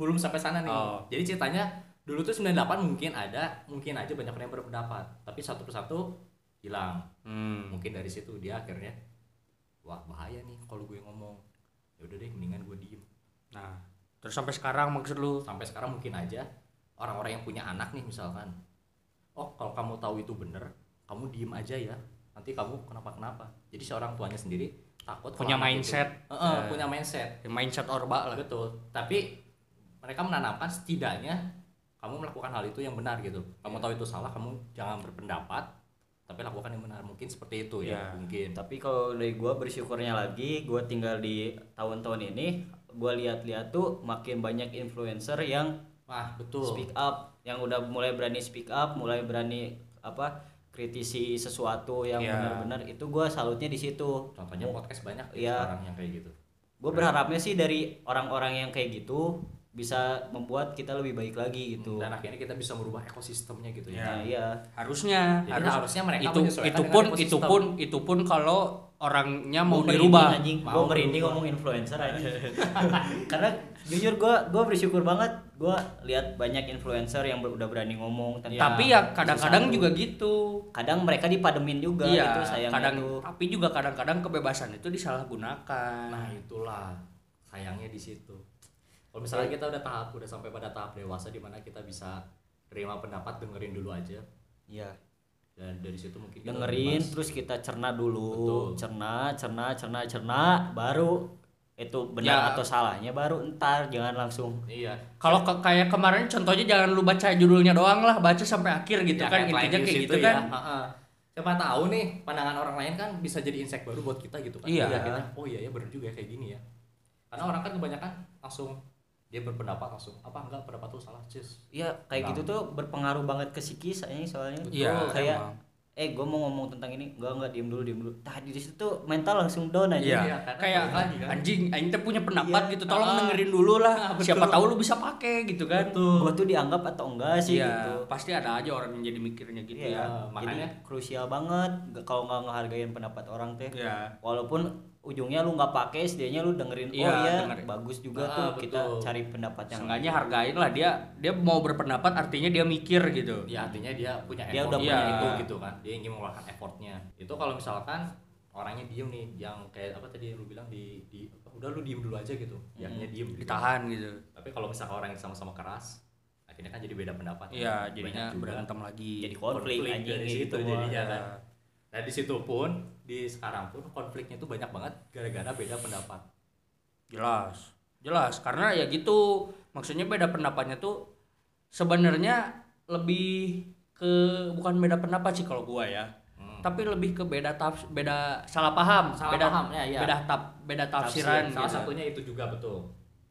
Speaker 1: belum sampai sana nih
Speaker 2: Oh.
Speaker 1: jadi ceritanya dulu tuh 98 mungkin ada mungkin aja banyak orang yang berpendapat tapi satu persatu hilang
Speaker 2: hmm.
Speaker 1: mungkin dari situ dia akhirnya wah bahaya nih kalau gue ngomong ya udah deh mendingan gue diem
Speaker 2: nah terus sampai sekarang maksud lu
Speaker 1: sampai sekarang mungkin aja orang-orang yang punya anak nih misalkan oh kalau kamu tahu itu bener kamu diem aja ya nanti kamu kenapa kenapa jadi seorang tuanya sendiri takut kalau
Speaker 2: Punya
Speaker 1: anak itu-
Speaker 2: mindset.
Speaker 1: Heeh,
Speaker 2: Eh.
Speaker 1: punya mindset
Speaker 2: mindset orba lah
Speaker 1: Betul. Tapi mereka menanamkan setidaknya kamu melakukan hal itu yang benar gitu.
Speaker 3: Iya.
Speaker 1: Kamu tahu itu salah, kamu jangan berpendapat, tapi lakukan yang benar. Mungkin seperti itu ya,
Speaker 3: Iya.
Speaker 2: Ya.
Speaker 1: mungkin.
Speaker 3: Tapi kalau dari gua bersyukurnya lagi, gua tinggal di tahun-tahun ini, gua lihat-lihat tuh makin banyak influencer yang
Speaker 1: Wah, betul.
Speaker 3: speak up, yang udah mulai berani speak up, mulai berani apa kritisi sesuatu yang
Speaker 2: Iya.
Speaker 3: benar-benar itu gua salutnya di situ.
Speaker 1: Contohnya podcast banyak ya
Speaker 3: Iya.
Speaker 1: sekarang yang kayak gitu.
Speaker 3: Gue berharapnya sih dari orang-orang yang kayak gitu bisa membuat kita lebih baik lagi gitu.
Speaker 1: Dan akhirnya kita bisa merubah ekosistemnya gitu ya.
Speaker 3: Nah, iya.
Speaker 2: harusnya
Speaker 1: Jadi harusnya mereka
Speaker 2: itu
Speaker 1: menyesuaikan
Speaker 2: itu
Speaker 1: dengan
Speaker 2: pun
Speaker 1: ekosistem.
Speaker 2: itu pun itu pun kalau orangnya mau
Speaker 3: Gua merinding,
Speaker 2: dirubah
Speaker 3: anjing
Speaker 1: Mau
Speaker 3: gue merinding
Speaker 1: dirubah.
Speaker 3: ngomong influencer aja karena jujur gue gue bersyukur banget gue lihat banyak influencer yang ber- udah berani ngomong tentang
Speaker 2: tapi
Speaker 1: Iya,
Speaker 2: ya kadang-kadang
Speaker 3: sesuatu.
Speaker 2: juga gitu
Speaker 3: kadang mereka dipademin juga
Speaker 2: iya
Speaker 3: itu sayangnya
Speaker 2: kadang
Speaker 3: tuh.
Speaker 2: tapi juga kadang-kadang kebebasan itu disalahgunakan
Speaker 1: Nah, itulah sayangnya di situ. Kalau
Speaker 3: Iya.
Speaker 1: misalnya kita udah tahap udah sampai pada tahap dewasa di mana kita bisa terima pendapat dengerin dulu aja
Speaker 3: Iya.
Speaker 1: dan dari situ
Speaker 2: Iya,
Speaker 1: mungkin kita
Speaker 3: dengerin
Speaker 1: bebas.
Speaker 3: terus kita cerna dulu
Speaker 1: Betul.
Speaker 3: cerna cerna cerna cerna baru itu
Speaker 2: Ya.
Speaker 3: benar atau salahnya baru entar jangan langsung
Speaker 1: Iya.
Speaker 2: Kalau ke- kayak kemarin contohnya jangan lu baca judulnya doang lah, baca sampai akhir gitu
Speaker 1: Ya,
Speaker 2: kan
Speaker 1: headline
Speaker 2: intinya
Speaker 1: news
Speaker 2: kayak
Speaker 1: itu
Speaker 2: gitu
Speaker 1: ya.
Speaker 2: kan.
Speaker 1: Heeh. siapa tahu nih pandangan orang lain kan bisa jadi insight baru buat kita gitu kan
Speaker 2: Iya.
Speaker 1: Jadi akhirnya, oh iya ya bener juga ya kayak gini ya karena orang kan kebanyakan langsung dia berpendapat langsung apa enggak pendapat lu salah cis
Speaker 3: Iya kayak
Speaker 1: Nah.
Speaker 3: gitu tuh berpengaruh banget ke psikis anjing, soalnya
Speaker 1: Betul,
Speaker 2: Iya,
Speaker 3: kayak
Speaker 2: emang.
Speaker 3: eh gue mau ngomong tentang ini enggak enggak diem dulu diem dulu tadi di situ tuh mental langsung down aja
Speaker 2: Iya,
Speaker 1: Iya, karena
Speaker 2: kayak
Speaker 1: balik lagi kan.
Speaker 2: anjing, anjing teh punya pendapat
Speaker 3: Iya.
Speaker 2: gitu, tolong
Speaker 1: Ah.
Speaker 2: dengerin dulu
Speaker 1: Ah,
Speaker 2: lah.
Speaker 1: betul.
Speaker 2: Siapa tahu lu bisa pakai gitu kan.
Speaker 3: gue tuh dianggap atau enggak sih
Speaker 2: Iya,
Speaker 3: gitu
Speaker 2: pasti ada aja orang yang jadi mikirnya gitu
Speaker 3: Iya,
Speaker 2: ya.
Speaker 1: makanya-
Speaker 3: jadi krusial banget nggak- kalau nggak ngehargain pendapat orang teh
Speaker 2: Iya.
Speaker 3: walaupun ujungnya lu nggak pakai setidaknya lu dengerin
Speaker 2: Iya,
Speaker 3: oh iya
Speaker 2: dengerin.
Speaker 3: bagus juga
Speaker 1: Ah,
Speaker 3: tuh kita
Speaker 1: betul.
Speaker 3: cari pendapat yang
Speaker 2: Ya, Seenggaknya hargain lah dia dia mau berpendapat artinya dia mikir gitu.
Speaker 1: ya artinya dia punya
Speaker 3: Dia
Speaker 1: effort
Speaker 3: udah
Speaker 1: punya
Speaker 2: punya.
Speaker 1: itu gitu kan dia ingin mengeluarkan effortnya itu kalau misalkan orangnya diem nih yang kayak apa tadi lu bilang di, di apa, udah lu diem dulu aja gitu ya
Speaker 2: Hmm.
Speaker 1: akhirnya diem gitu.
Speaker 2: Ditahan gitu.
Speaker 1: tapi kalau misalkan orang yang sama-sama keras akhirnya kan jadi beda pendapat
Speaker 2: Iya,
Speaker 1: Banyak
Speaker 2: jadinya
Speaker 1: juga
Speaker 2: berantem lagi.
Speaker 3: jadi konflik,
Speaker 1: konflik
Speaker 3: anjing
Speaker 1: dari
Speaker 3: kayak
Speaker 1: situ
Speaker 3: gitu Wak.
Speaker 1: jadinya
Speaker 2: Iya.
Speaker 1: kan nah di situ pun di sekarang pun konfliknya tuh banyak banget gara-gara beda pendapat
Speaker 2: Jelas, jelas. Karena ya gitu, maksudnya beda pendapatnya tuh sebenarnya lebih ke bukan beda pendapat sih kalau gua ya,
Speaker 1: Hmm.
Speaker 2: tapi lebih ke beda tafs, beda salah paham,
Speaker 1: Salah
Speaker 2: beda
Speaker 1: paham, ya, ya.
Speaker 2: beda taf, beda tafsiran.
Speaker 1: Tafsir, salah
Speaker 2: gitu.
Speaker 1: satunya itu juga betul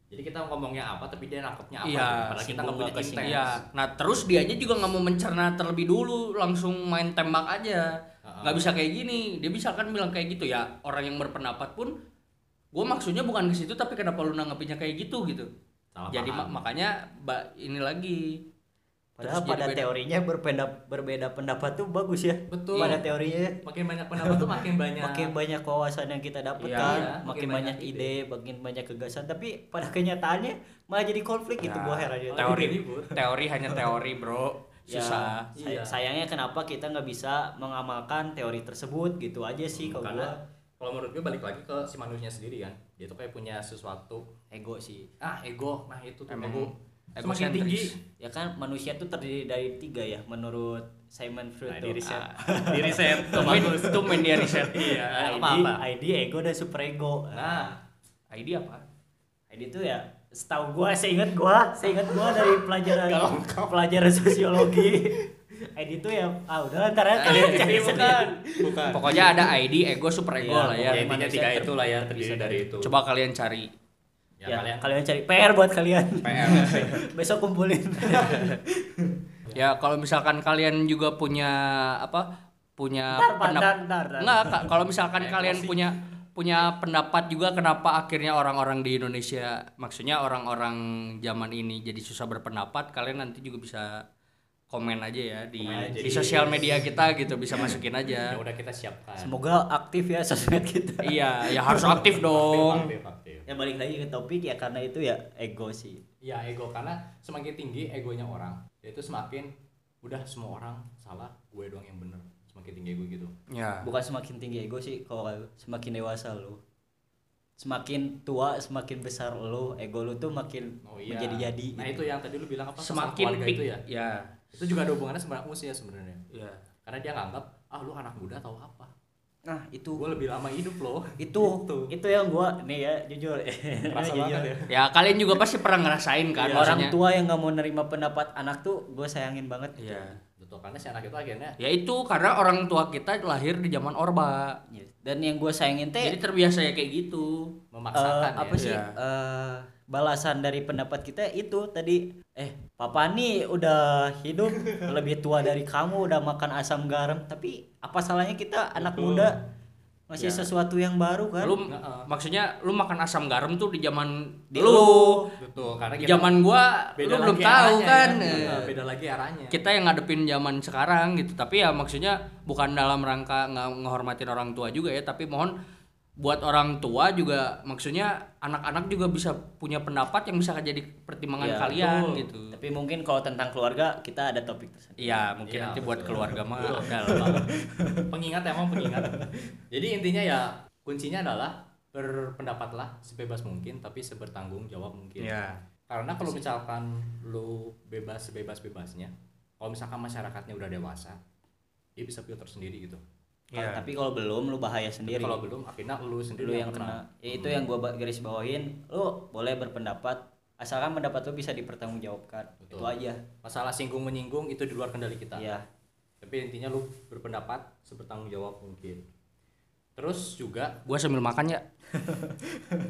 Speaker 1: jadi kita ngomongnya apa tapi dia nangkepnya apa gitu.
Speaker 2: Iya,
Speaker 1: padahal kita nggak
Speaker 3: singgung
Speaker 1: punya
Speaker 3: apa
Speaker 1: intens
Speaker 3: singgung.
Speaker 2: Iya. Nah terus dianya juga nggak mau mencerna terlebih dulu, langsung main tembak aja.
Speaker 1: Heeh.
Speaker 2: Nggak bisa kayak gini. Dia bisa kan bilang kayak gitu ya. Orang yang berpendapat pun, gua maksudnya bukan ke situ, tapi kenapa lu nanggapinnya kayak gitu gitu?
Speaker 1: Salah
Speaker 2: jadi
Speaker 1: paham.
Speaker 2: ma- makanya ba- ini lagi
Speaker 3: Padahal
Speaker 2: Terus jadi
Speaker 3: pada
Speaker 2: beda.
Speaker 3: teorinya berpendap, berbeda pendapat tuh bagus ya.
Speaker 1: Betul.
Speaker 2: Iya.
Speaker 3: Pada teorinya
Speaker 1: makin banyak pendapat tuh makin banyak
Speaker 3: makin banyak wawasan yang kita dapat
Speaker 2: Iya,
Speaker 3: kan,
Speaker 1: iya.
Speaker 3: makin,
Speaker 1: Makin
Speaker 3: banyak,
Speaker 1: banyak
Speaker 3: ide, makin banyak gagasan, tapi pada kenyataannya malah jadi konflik gitu
Speaker 2: Ya,
Speaker 3: gua heran ya.
Speaker 2: teori
Speaker 1: Makin ribut.
Speaker 2: teori hanya teori bro
Speaker 3: Ya,
Speaker 2: susah
Speaker 3: say-
Speaker 1: Iya.
Speaker 3: sayangnya kenapa kita nggak bisa mengamalkan teori tersebut gitu aja sih kalau
Speaker 1: karena
Speaker 3: gua
Speaker 1: kalau menurut gue balik lagi ke si manusianya sendiri kan dia tuh kayak punya sesuatu
Speaker 3: ego sih.
Speaker 1: ah ego nah itu tuh
Speaker 2: Emang
Speaker 1: ego semakin
Speaker 2: egocentris.
Speaker 1: tinggi
Speaker 3: Ya kan manusia tuh terdiri dari tiga ya menurut Simon Freud
Speaker 1: Nah,
Speaker 3: tuh.
Speaker 1: di riset.
Speaker 3: Ah,
Speaker 1: Di riset.
Speaker 2: Tumen, tumen dia riset
Speaker 1: Iya.
Speaker 3: ID,
Speaker 2: apa apa
Speaker 3: ID, Ah, ego dan superego.
Speaker 1: Nah,
Speaker 2: ID apa
Speaker 3: ID itu ya setahu gua, seingat gua, seingat gua dari pelajaran
Speaker 1: Nggak
Speaker 3: pelajaran sosiologi. ID itu ya ah udah ntar aja
Speaker 1: kan,
Speaker 3: kalian
Speaker 1: Jadi
Speaker 3: cari
Speaker 1: bukan
Speaker 3: sendiri.
Speaker 1: bukan
Speaker 2: Iya, pokoknya ada ID ego super ego
Speaker 3: Iya,
Speaker 2: lah ya
Speaker 1: ya intinya tiga itu lah ya terdiri
Speaker 3: terpisah
Speaker 1: dari itu
Speaker 2: coba kalian cari
Speaker 1: ya,
Speaker 2: Iya.
Speaker 3: Ya,
Speaker 1: kalian
Speaker 3: kalian cari PR buat kalian.
Speaker 1: PR sih.
Speaker 3: Besok kumpulin.
Speaker 2: ya kalau misalkan kalian juga punya apa
Speaker 1: Nah,
Speaker 2: punya
Speaker 3: Ntar, Pak,
Speaker 2: pendap-
Speaker 3: ntar, ntar, ntar.
Speaker 2: Nggak, Kak, kalau misalkan
Speaker 1: Kayak
Speaker 2: kalian
Speaker 1: closing.
Speaker 2: punya punya pendapat juga kenapa akhirnya orang-orang di Indonesia maksudnya orang-orang zaman ini jadi susah berpendapat kalian nanti juga bisa komen aja ya di
Speaker 1: Komen aja
Speaker 2: di
Speaker 1: di-
Speaker 2: sosial media kita gitu bisa masukin
Speaker 1: ya
Speaker 2: aja
Speaker 1: udah kita siapkan
Speaker 3: Semoga aktif ya sosmed kita.
Speaker 2: iya ya harus aktif dong
Speaker 1: aktif, aktif.
Speaker 3: Ya balik lagi ke topik ya karena itu ya ego sih.
Speaker 1: ya ego karena semakin tinggi egonya orang yaitu semakin udah semua orang salah gue doang yang bener semakin tinggi ego gitu
Speaker 2: ya
Speaker 3: Bukan semakin tinggi ego sih kalau semakin dewasa lu. Semakin tua, semakin besar lu, ego lu tuh makin
Speaker 1: oh iya
Speaker 3: menjadi-jadi.
Speaker 1: nah itu
Speaker 3: gitu.
Speaker 1: yang tadi lu bilang apa masalah
Speaker 2: semakin
Speaker 1: keluarga
Speaker 2: pik
Speaker 1: itu ya Iya.
Speaker 2: ya
Speaker 1: itu juga ada hubungannya sama usia sebenarnya
Speaker 2: ya
Speaker 1: karena dia nganggap ah lu anak muda tahu apa
Speaker 3: Nah, itu
Speaker 1: gue lebih lama hidup loh
Speaker 3: itu itu yang gua nih ya jujur
Speaker 1: Rasa
Speaker 3: Jujur.
Speaker 1: banget ya.
Speaker 2: ya kalian juga pasti pernah ngerasain kan
Speaker 3: Iya. orang
Speaker 2: maksudnya
Speaker 3: tua yang nggak mau nerima pendapat anak tuh gue sayangin banget
Speaker 1: Iya.
Speaker 2: ya
Speaker 1: betul Gitu, karena si anak itu akhirnya
Speaker 2: ya itu karena orang tua kita lahir di zaman orba
Speaker 3: Iya. dan yang gue sayangin teh
Speaker 2: jadi terbiasa ya kayak gitu
Speaker 1: memaksakan
Speaker 3: eh,
Speaker 1: ya
Speaker 3: apa sih
Speaker 2: Iya.
Speaker 3: eh, balasan dari pendapat kita itu tadi eh papa nih udah hidup lebih tua dari kamu udah makan asam garam tapi apa salahnya kita anak
Speaker 1: Betul.
Speaker 3: muda masih
Speaker 2: Iya.
Speaker 3: sesuatu yang baru kan
Speaker 2: lu
Speaker 1: Heeh.
Speaker 2: maksudnya lu makan asam garam tuh di zaman
Speaker 3: Di
Speaker 2: lu,
Speaker 3: lu.
Speaker 1: betul Gitu, karena
Speaker 2: di
Speaker 1: kita
Speaker 2: zaman gua
Speaker 1: lagi
Speaker 2: lu belum tahu
Speaker 1: arahnya,
Speaker 2: kan
Speaker 1: ya.
Speaker 2: Eh,
Speaker 1: Iya, beda lagi arahnya
Speaker 2: kita yang ngadepin zaman sekarang gitu tapi ya maksudnya bukan dalam rangka nge- ngehormatin orang tua juga ya tapi mohon buat orang tua juga maksudnya anak-anak juga bisa punya pendapat yang bisa jadi pertimbangan
Speaker 3: Iya,
Speaker 2: kalian
Speaker 1: betul.
Speaker 2: gitu
Speaker 3: tapi mungkin kalau tentang keluarga kita ada topik tersendiri
Speaker 2: iya mungkin
Speaker 1: Iya,
Speaker 2: nanti buat
Speaker 1: betul.
Speaker 2: keluarga mah
Speaker 1: Betul.
Speaker 2: ada lah
Speaker 1: pengingat emang pengingat jadi intinya ya kuncinya adalah berpendapatlah sebebas mungkin tapi sebertanggung jawab mungkin
Speaker 2: ya
Speaker 3: Iya.
Speaker 1: karena kalau misalkan lu bebas sebebas bebasnya kalau misalkan masyarakatnya udah dewasa dia bisa filter sendiri gitu
Speaker 3: Kalau- tapi kalau belum lu bahaya sendiri
Speaker 1: Tapi kalau belum akhirnya lu sendiri
Speaker 3: lu yang kena ya, itu yang gua ba- garis bawahin lu boleh berpendapat asalkan pendapat lu bisa dipertanggungjawabkan
Speaker 1: Betul.
Speaker 3: itu aja
Speaker 1: masalah singgung menyinggung itu di luar kendali kita
Speaker 3: ya
Speaker 1: tapi intinya lu berpendapat sebertanggung jawab mungkin terus juga
Speaker 2: gua sambil makan ya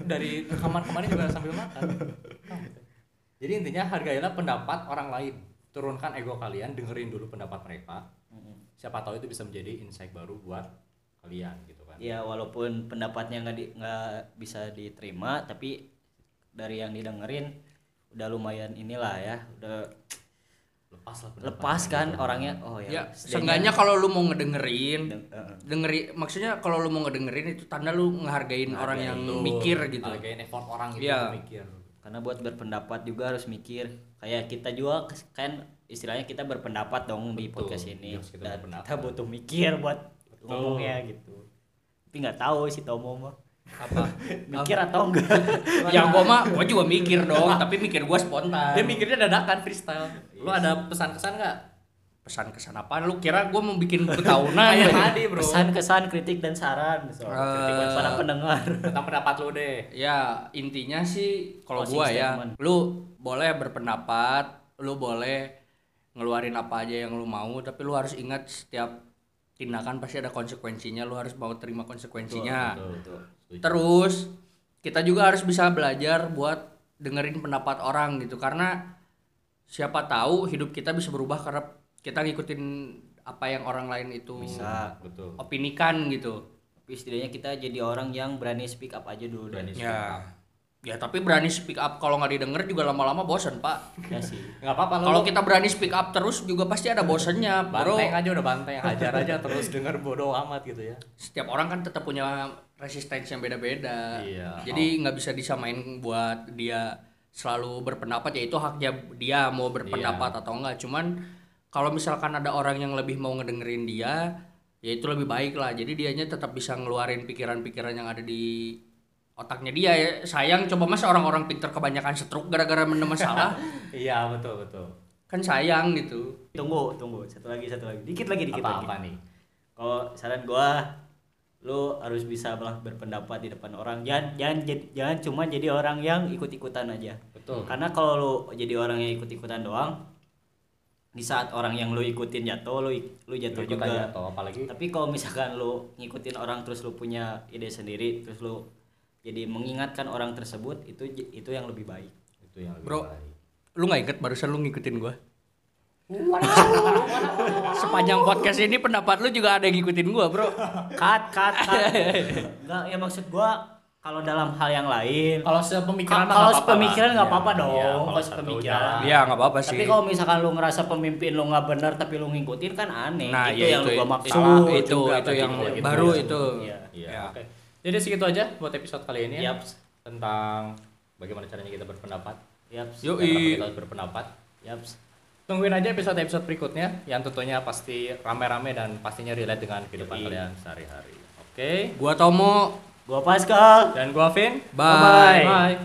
Speaker 1: dari rekaman kemarin juga sambil makan jadi intinya hargailah pendapat orang lain turunkan ego kalian dengerin dulu pendapat mereka siapa tahu itu bisa menjadi insight baru buat kalian gitu kan
Speaker 3: ya walaupun pendapatnya nggak di- nggak bisa diterima tapi dari yang didengerin udah lumayan inilah ya udah
Speaker 1: lepas lah pendapat
Speaker 3: lepas kan
Speaker 1: orang
Speaker 3: orangnya oh
Speaker 2: ya
Speaker 1: Iya,
Speaker 3: ya,
Speaker 2: seenggaknya kalau lu mau ngedengerin
Speaker 3: Deng- eh,
Speaker 2: dengeri maksudnya kalau lu mau ngedengerin itu tanda lu ngehargain orang yang mikir gitu
Speaker 1: hargain effort orang itu untuk
Speaker 2: Iya.
Speaker 1: mikir
Speaker 3: karena buat berpendapat juga harus mikir kayak kita juga kes- kan istilahnya kita berpendapat dong
Speaker 1: Betul,
Speaker 3: di
Speaker 1: Iya,
Speaker 3: podcast ini
Speaker 1: harus kita
Speaker 3: dan
Speaker 1: berpendapat.
Speaker 3: kita butuh mikir buat ngomongnya gitu tapi nggak tahu si Tomo mah
Speaker 2: apa
Speaker 3: mikir atau enggak
Speaker 2: yang gua mah gua juga mikir dong tapi mikir gua spontan
Speaker 1: dia mikirnya dadakan freestyle lu ada pesan kesan nggak
Speaker 2: pesan kesan apaan lu kira gua mau bikin betahunan
Speaker 1: kayak
Speaker 2: ya?
Speaker 1: tadi bro
Speaker 3: pesan kesan kritik dan saran soal kritik buat
Speaker 2: Eh,
Speaker 3: para pendengar
Speaker 1: tentang pendapat lu deh
Speaker 2: ya intinya sih
Speaker 1: Oh,
Speaker 2: kalau
Speaker 3: Closing
Speaker 2: gua ya
Speaker 3: statement.
Speaker 2: lu boleh berpendapat lu boleh ngeluarin apa aja yang lu mau tapi lu harus ingat setiap tindakan pasti ada konsekuensinya lu harus mau terima konsekuensinya
Speaker 1: betul
Speaker 2: Terus kita juga harus bisa belajar buat dengerin pendapat orang gitu karena siapa tahu hidup kita bisa berubah karena kita ngikutin apa yang orang lain itu
Speaker 3: bisa
Speaker 1: betul
Speaker 2: opinikan gitu.
Speaker 3: tapi setidaknya kita jadi orang yang berani speak up aja dulu
Speaker 1: Berani
Speaker 3: dan
Speaker 1: speak
Speaker 2: Ya.
Speaker 1: up.
Speaker 2: Ya tapi berani speak up kalau nggak didengar juga lama-lama bosen pak.
Speaker 3: ya sih
Speaker 1: nggak apa-apa lu
Speaker 2: Kalau kita berani speak up terus juga pasti ada bosennya bro.
Speaker 1: banteng aja udah banteng hajar aja terus denger bodoh amat gitu ya
Speaker 2: Setiap orang kan tetap punya resistensi yang beda-beda.
Speaker 1: Iya.
Speaker 2: Jadi nggak bisa disamain buat dia selalu berpendapat ya itu haknya dia mau berpendapat atau enggak. Cuman kalau misalkan ada orang yang lebih mau ngedengerin dia, ya itu lebih baik lah. Jadi dianya tetap bisa ngeluarin pikiran-pikiran yang ada di otaknya dia ya. Sayang coba mas orang-orang pinter kebanyakan setruk gara-gara mendem masalah.
Speaker 1: iya betul betul
Speaker 2: kan sayang gitu.
Speaker 3: tunggu tunggu satu lagi satu lagi dikit lagi dikit lagi
Speaker 1: apa-apa nih
Speaker 3: kalau saran gua lu harus bisa lah berpendapat di depan orang jangan jangan jad- jangan cuma jadi orang yang ikut-ikutan aja
Speaker 1: Betul.
Speaker 3: karena kalau lu jadi orang yang ikut-ikutan doang di saat orang yang lu ikutin jatuh lu ik- lu jatuh
Speaker 1: Ikut
Speaker 3: juga
Speaker 1: aja atau apalagi
Speaker 3: tapi kalau misalkan lu ngikutin orang terus lu punya ide sendiri terus lu jadi mengingatkan orang tersebut itu j- itu yang lebih baik
Speaker 1: itu yang lebih
Speaker 2: Bro.
Speaker 1: baik
Speaker 2: Lu nggak inget barusan lu ngikutin gua? Sepanjang podcast ini pendapat lu juga ada yang ngikutin gua, Bro.
Speaker 3: cut cut cut nggak ya maksud gua kalau dalam hal yang lain
Speaker 1: kalau sepemikiran mah
Speaker 3: Ka- kalau
Speaker 1: nggak apa-apa lah.
Speaker 3: sepemikiran
Speaker 1: Iya.
Speaker 3: nggak apa-apa dong,
Speaker 1: Iya,
Speaker 3: kalau
Speaker 1: satu
Speaker 3: sepemikiran.
Speaker 1: jalan.
Speaker 2: Iya, nggak apa-apa sih.
Speaker 3: tapi kalau misalkan lu ngerasa pemimpin lu nggak benar tapi lu ngikutin kan aneh
Speaker 2: nah,
Speaker 3: itu
Speaker 2: ya
Speaker 3: yang
Speaker 2: itu,
Speaker 3: lu gua
Speaker 2: itu,
Speaker 3: maksud
Speaker 2: itu,
Speaker 1: juga
Speaker 2: itu
Speaker 1: tadi
Speaker 2: yang
Speaker 1: kalau gitu
Speaker 2: baru
Speaker 1: ya.
Speaker 2: itu.
Speaker 3: Iya.
Speaker 1: Iya.
Speaker 2: Ya.
Speaker 1: Oke. Jadi segitu aja buat episode kali ini ya.
Speaker 3: Yap.
Speaker 1: tentang bagaimana caranya kita berpendapat.
Speaker 3: yaps
Speaker 2: Yuk.
Speaker 1: Dan kenapa
Speaker 2: Yoi.
Speaker 1: kita harus berpendapat.
Speaker 3: yaps
Speaker 1: Tungguin aja episode-episode berikutnya yang tentunya pasti rame-rame dan pastinya relate dengan kehidupan
Speaker 3: Yoi.
Speaker 1: kalian sehari-hari. Oke.
Speaker 2: Gua Tomo,
Speaker 3: gua Pascal
Speaker 1: Dan gua Vin.
Speaker 2: Bye.
Speaker 1: Bye.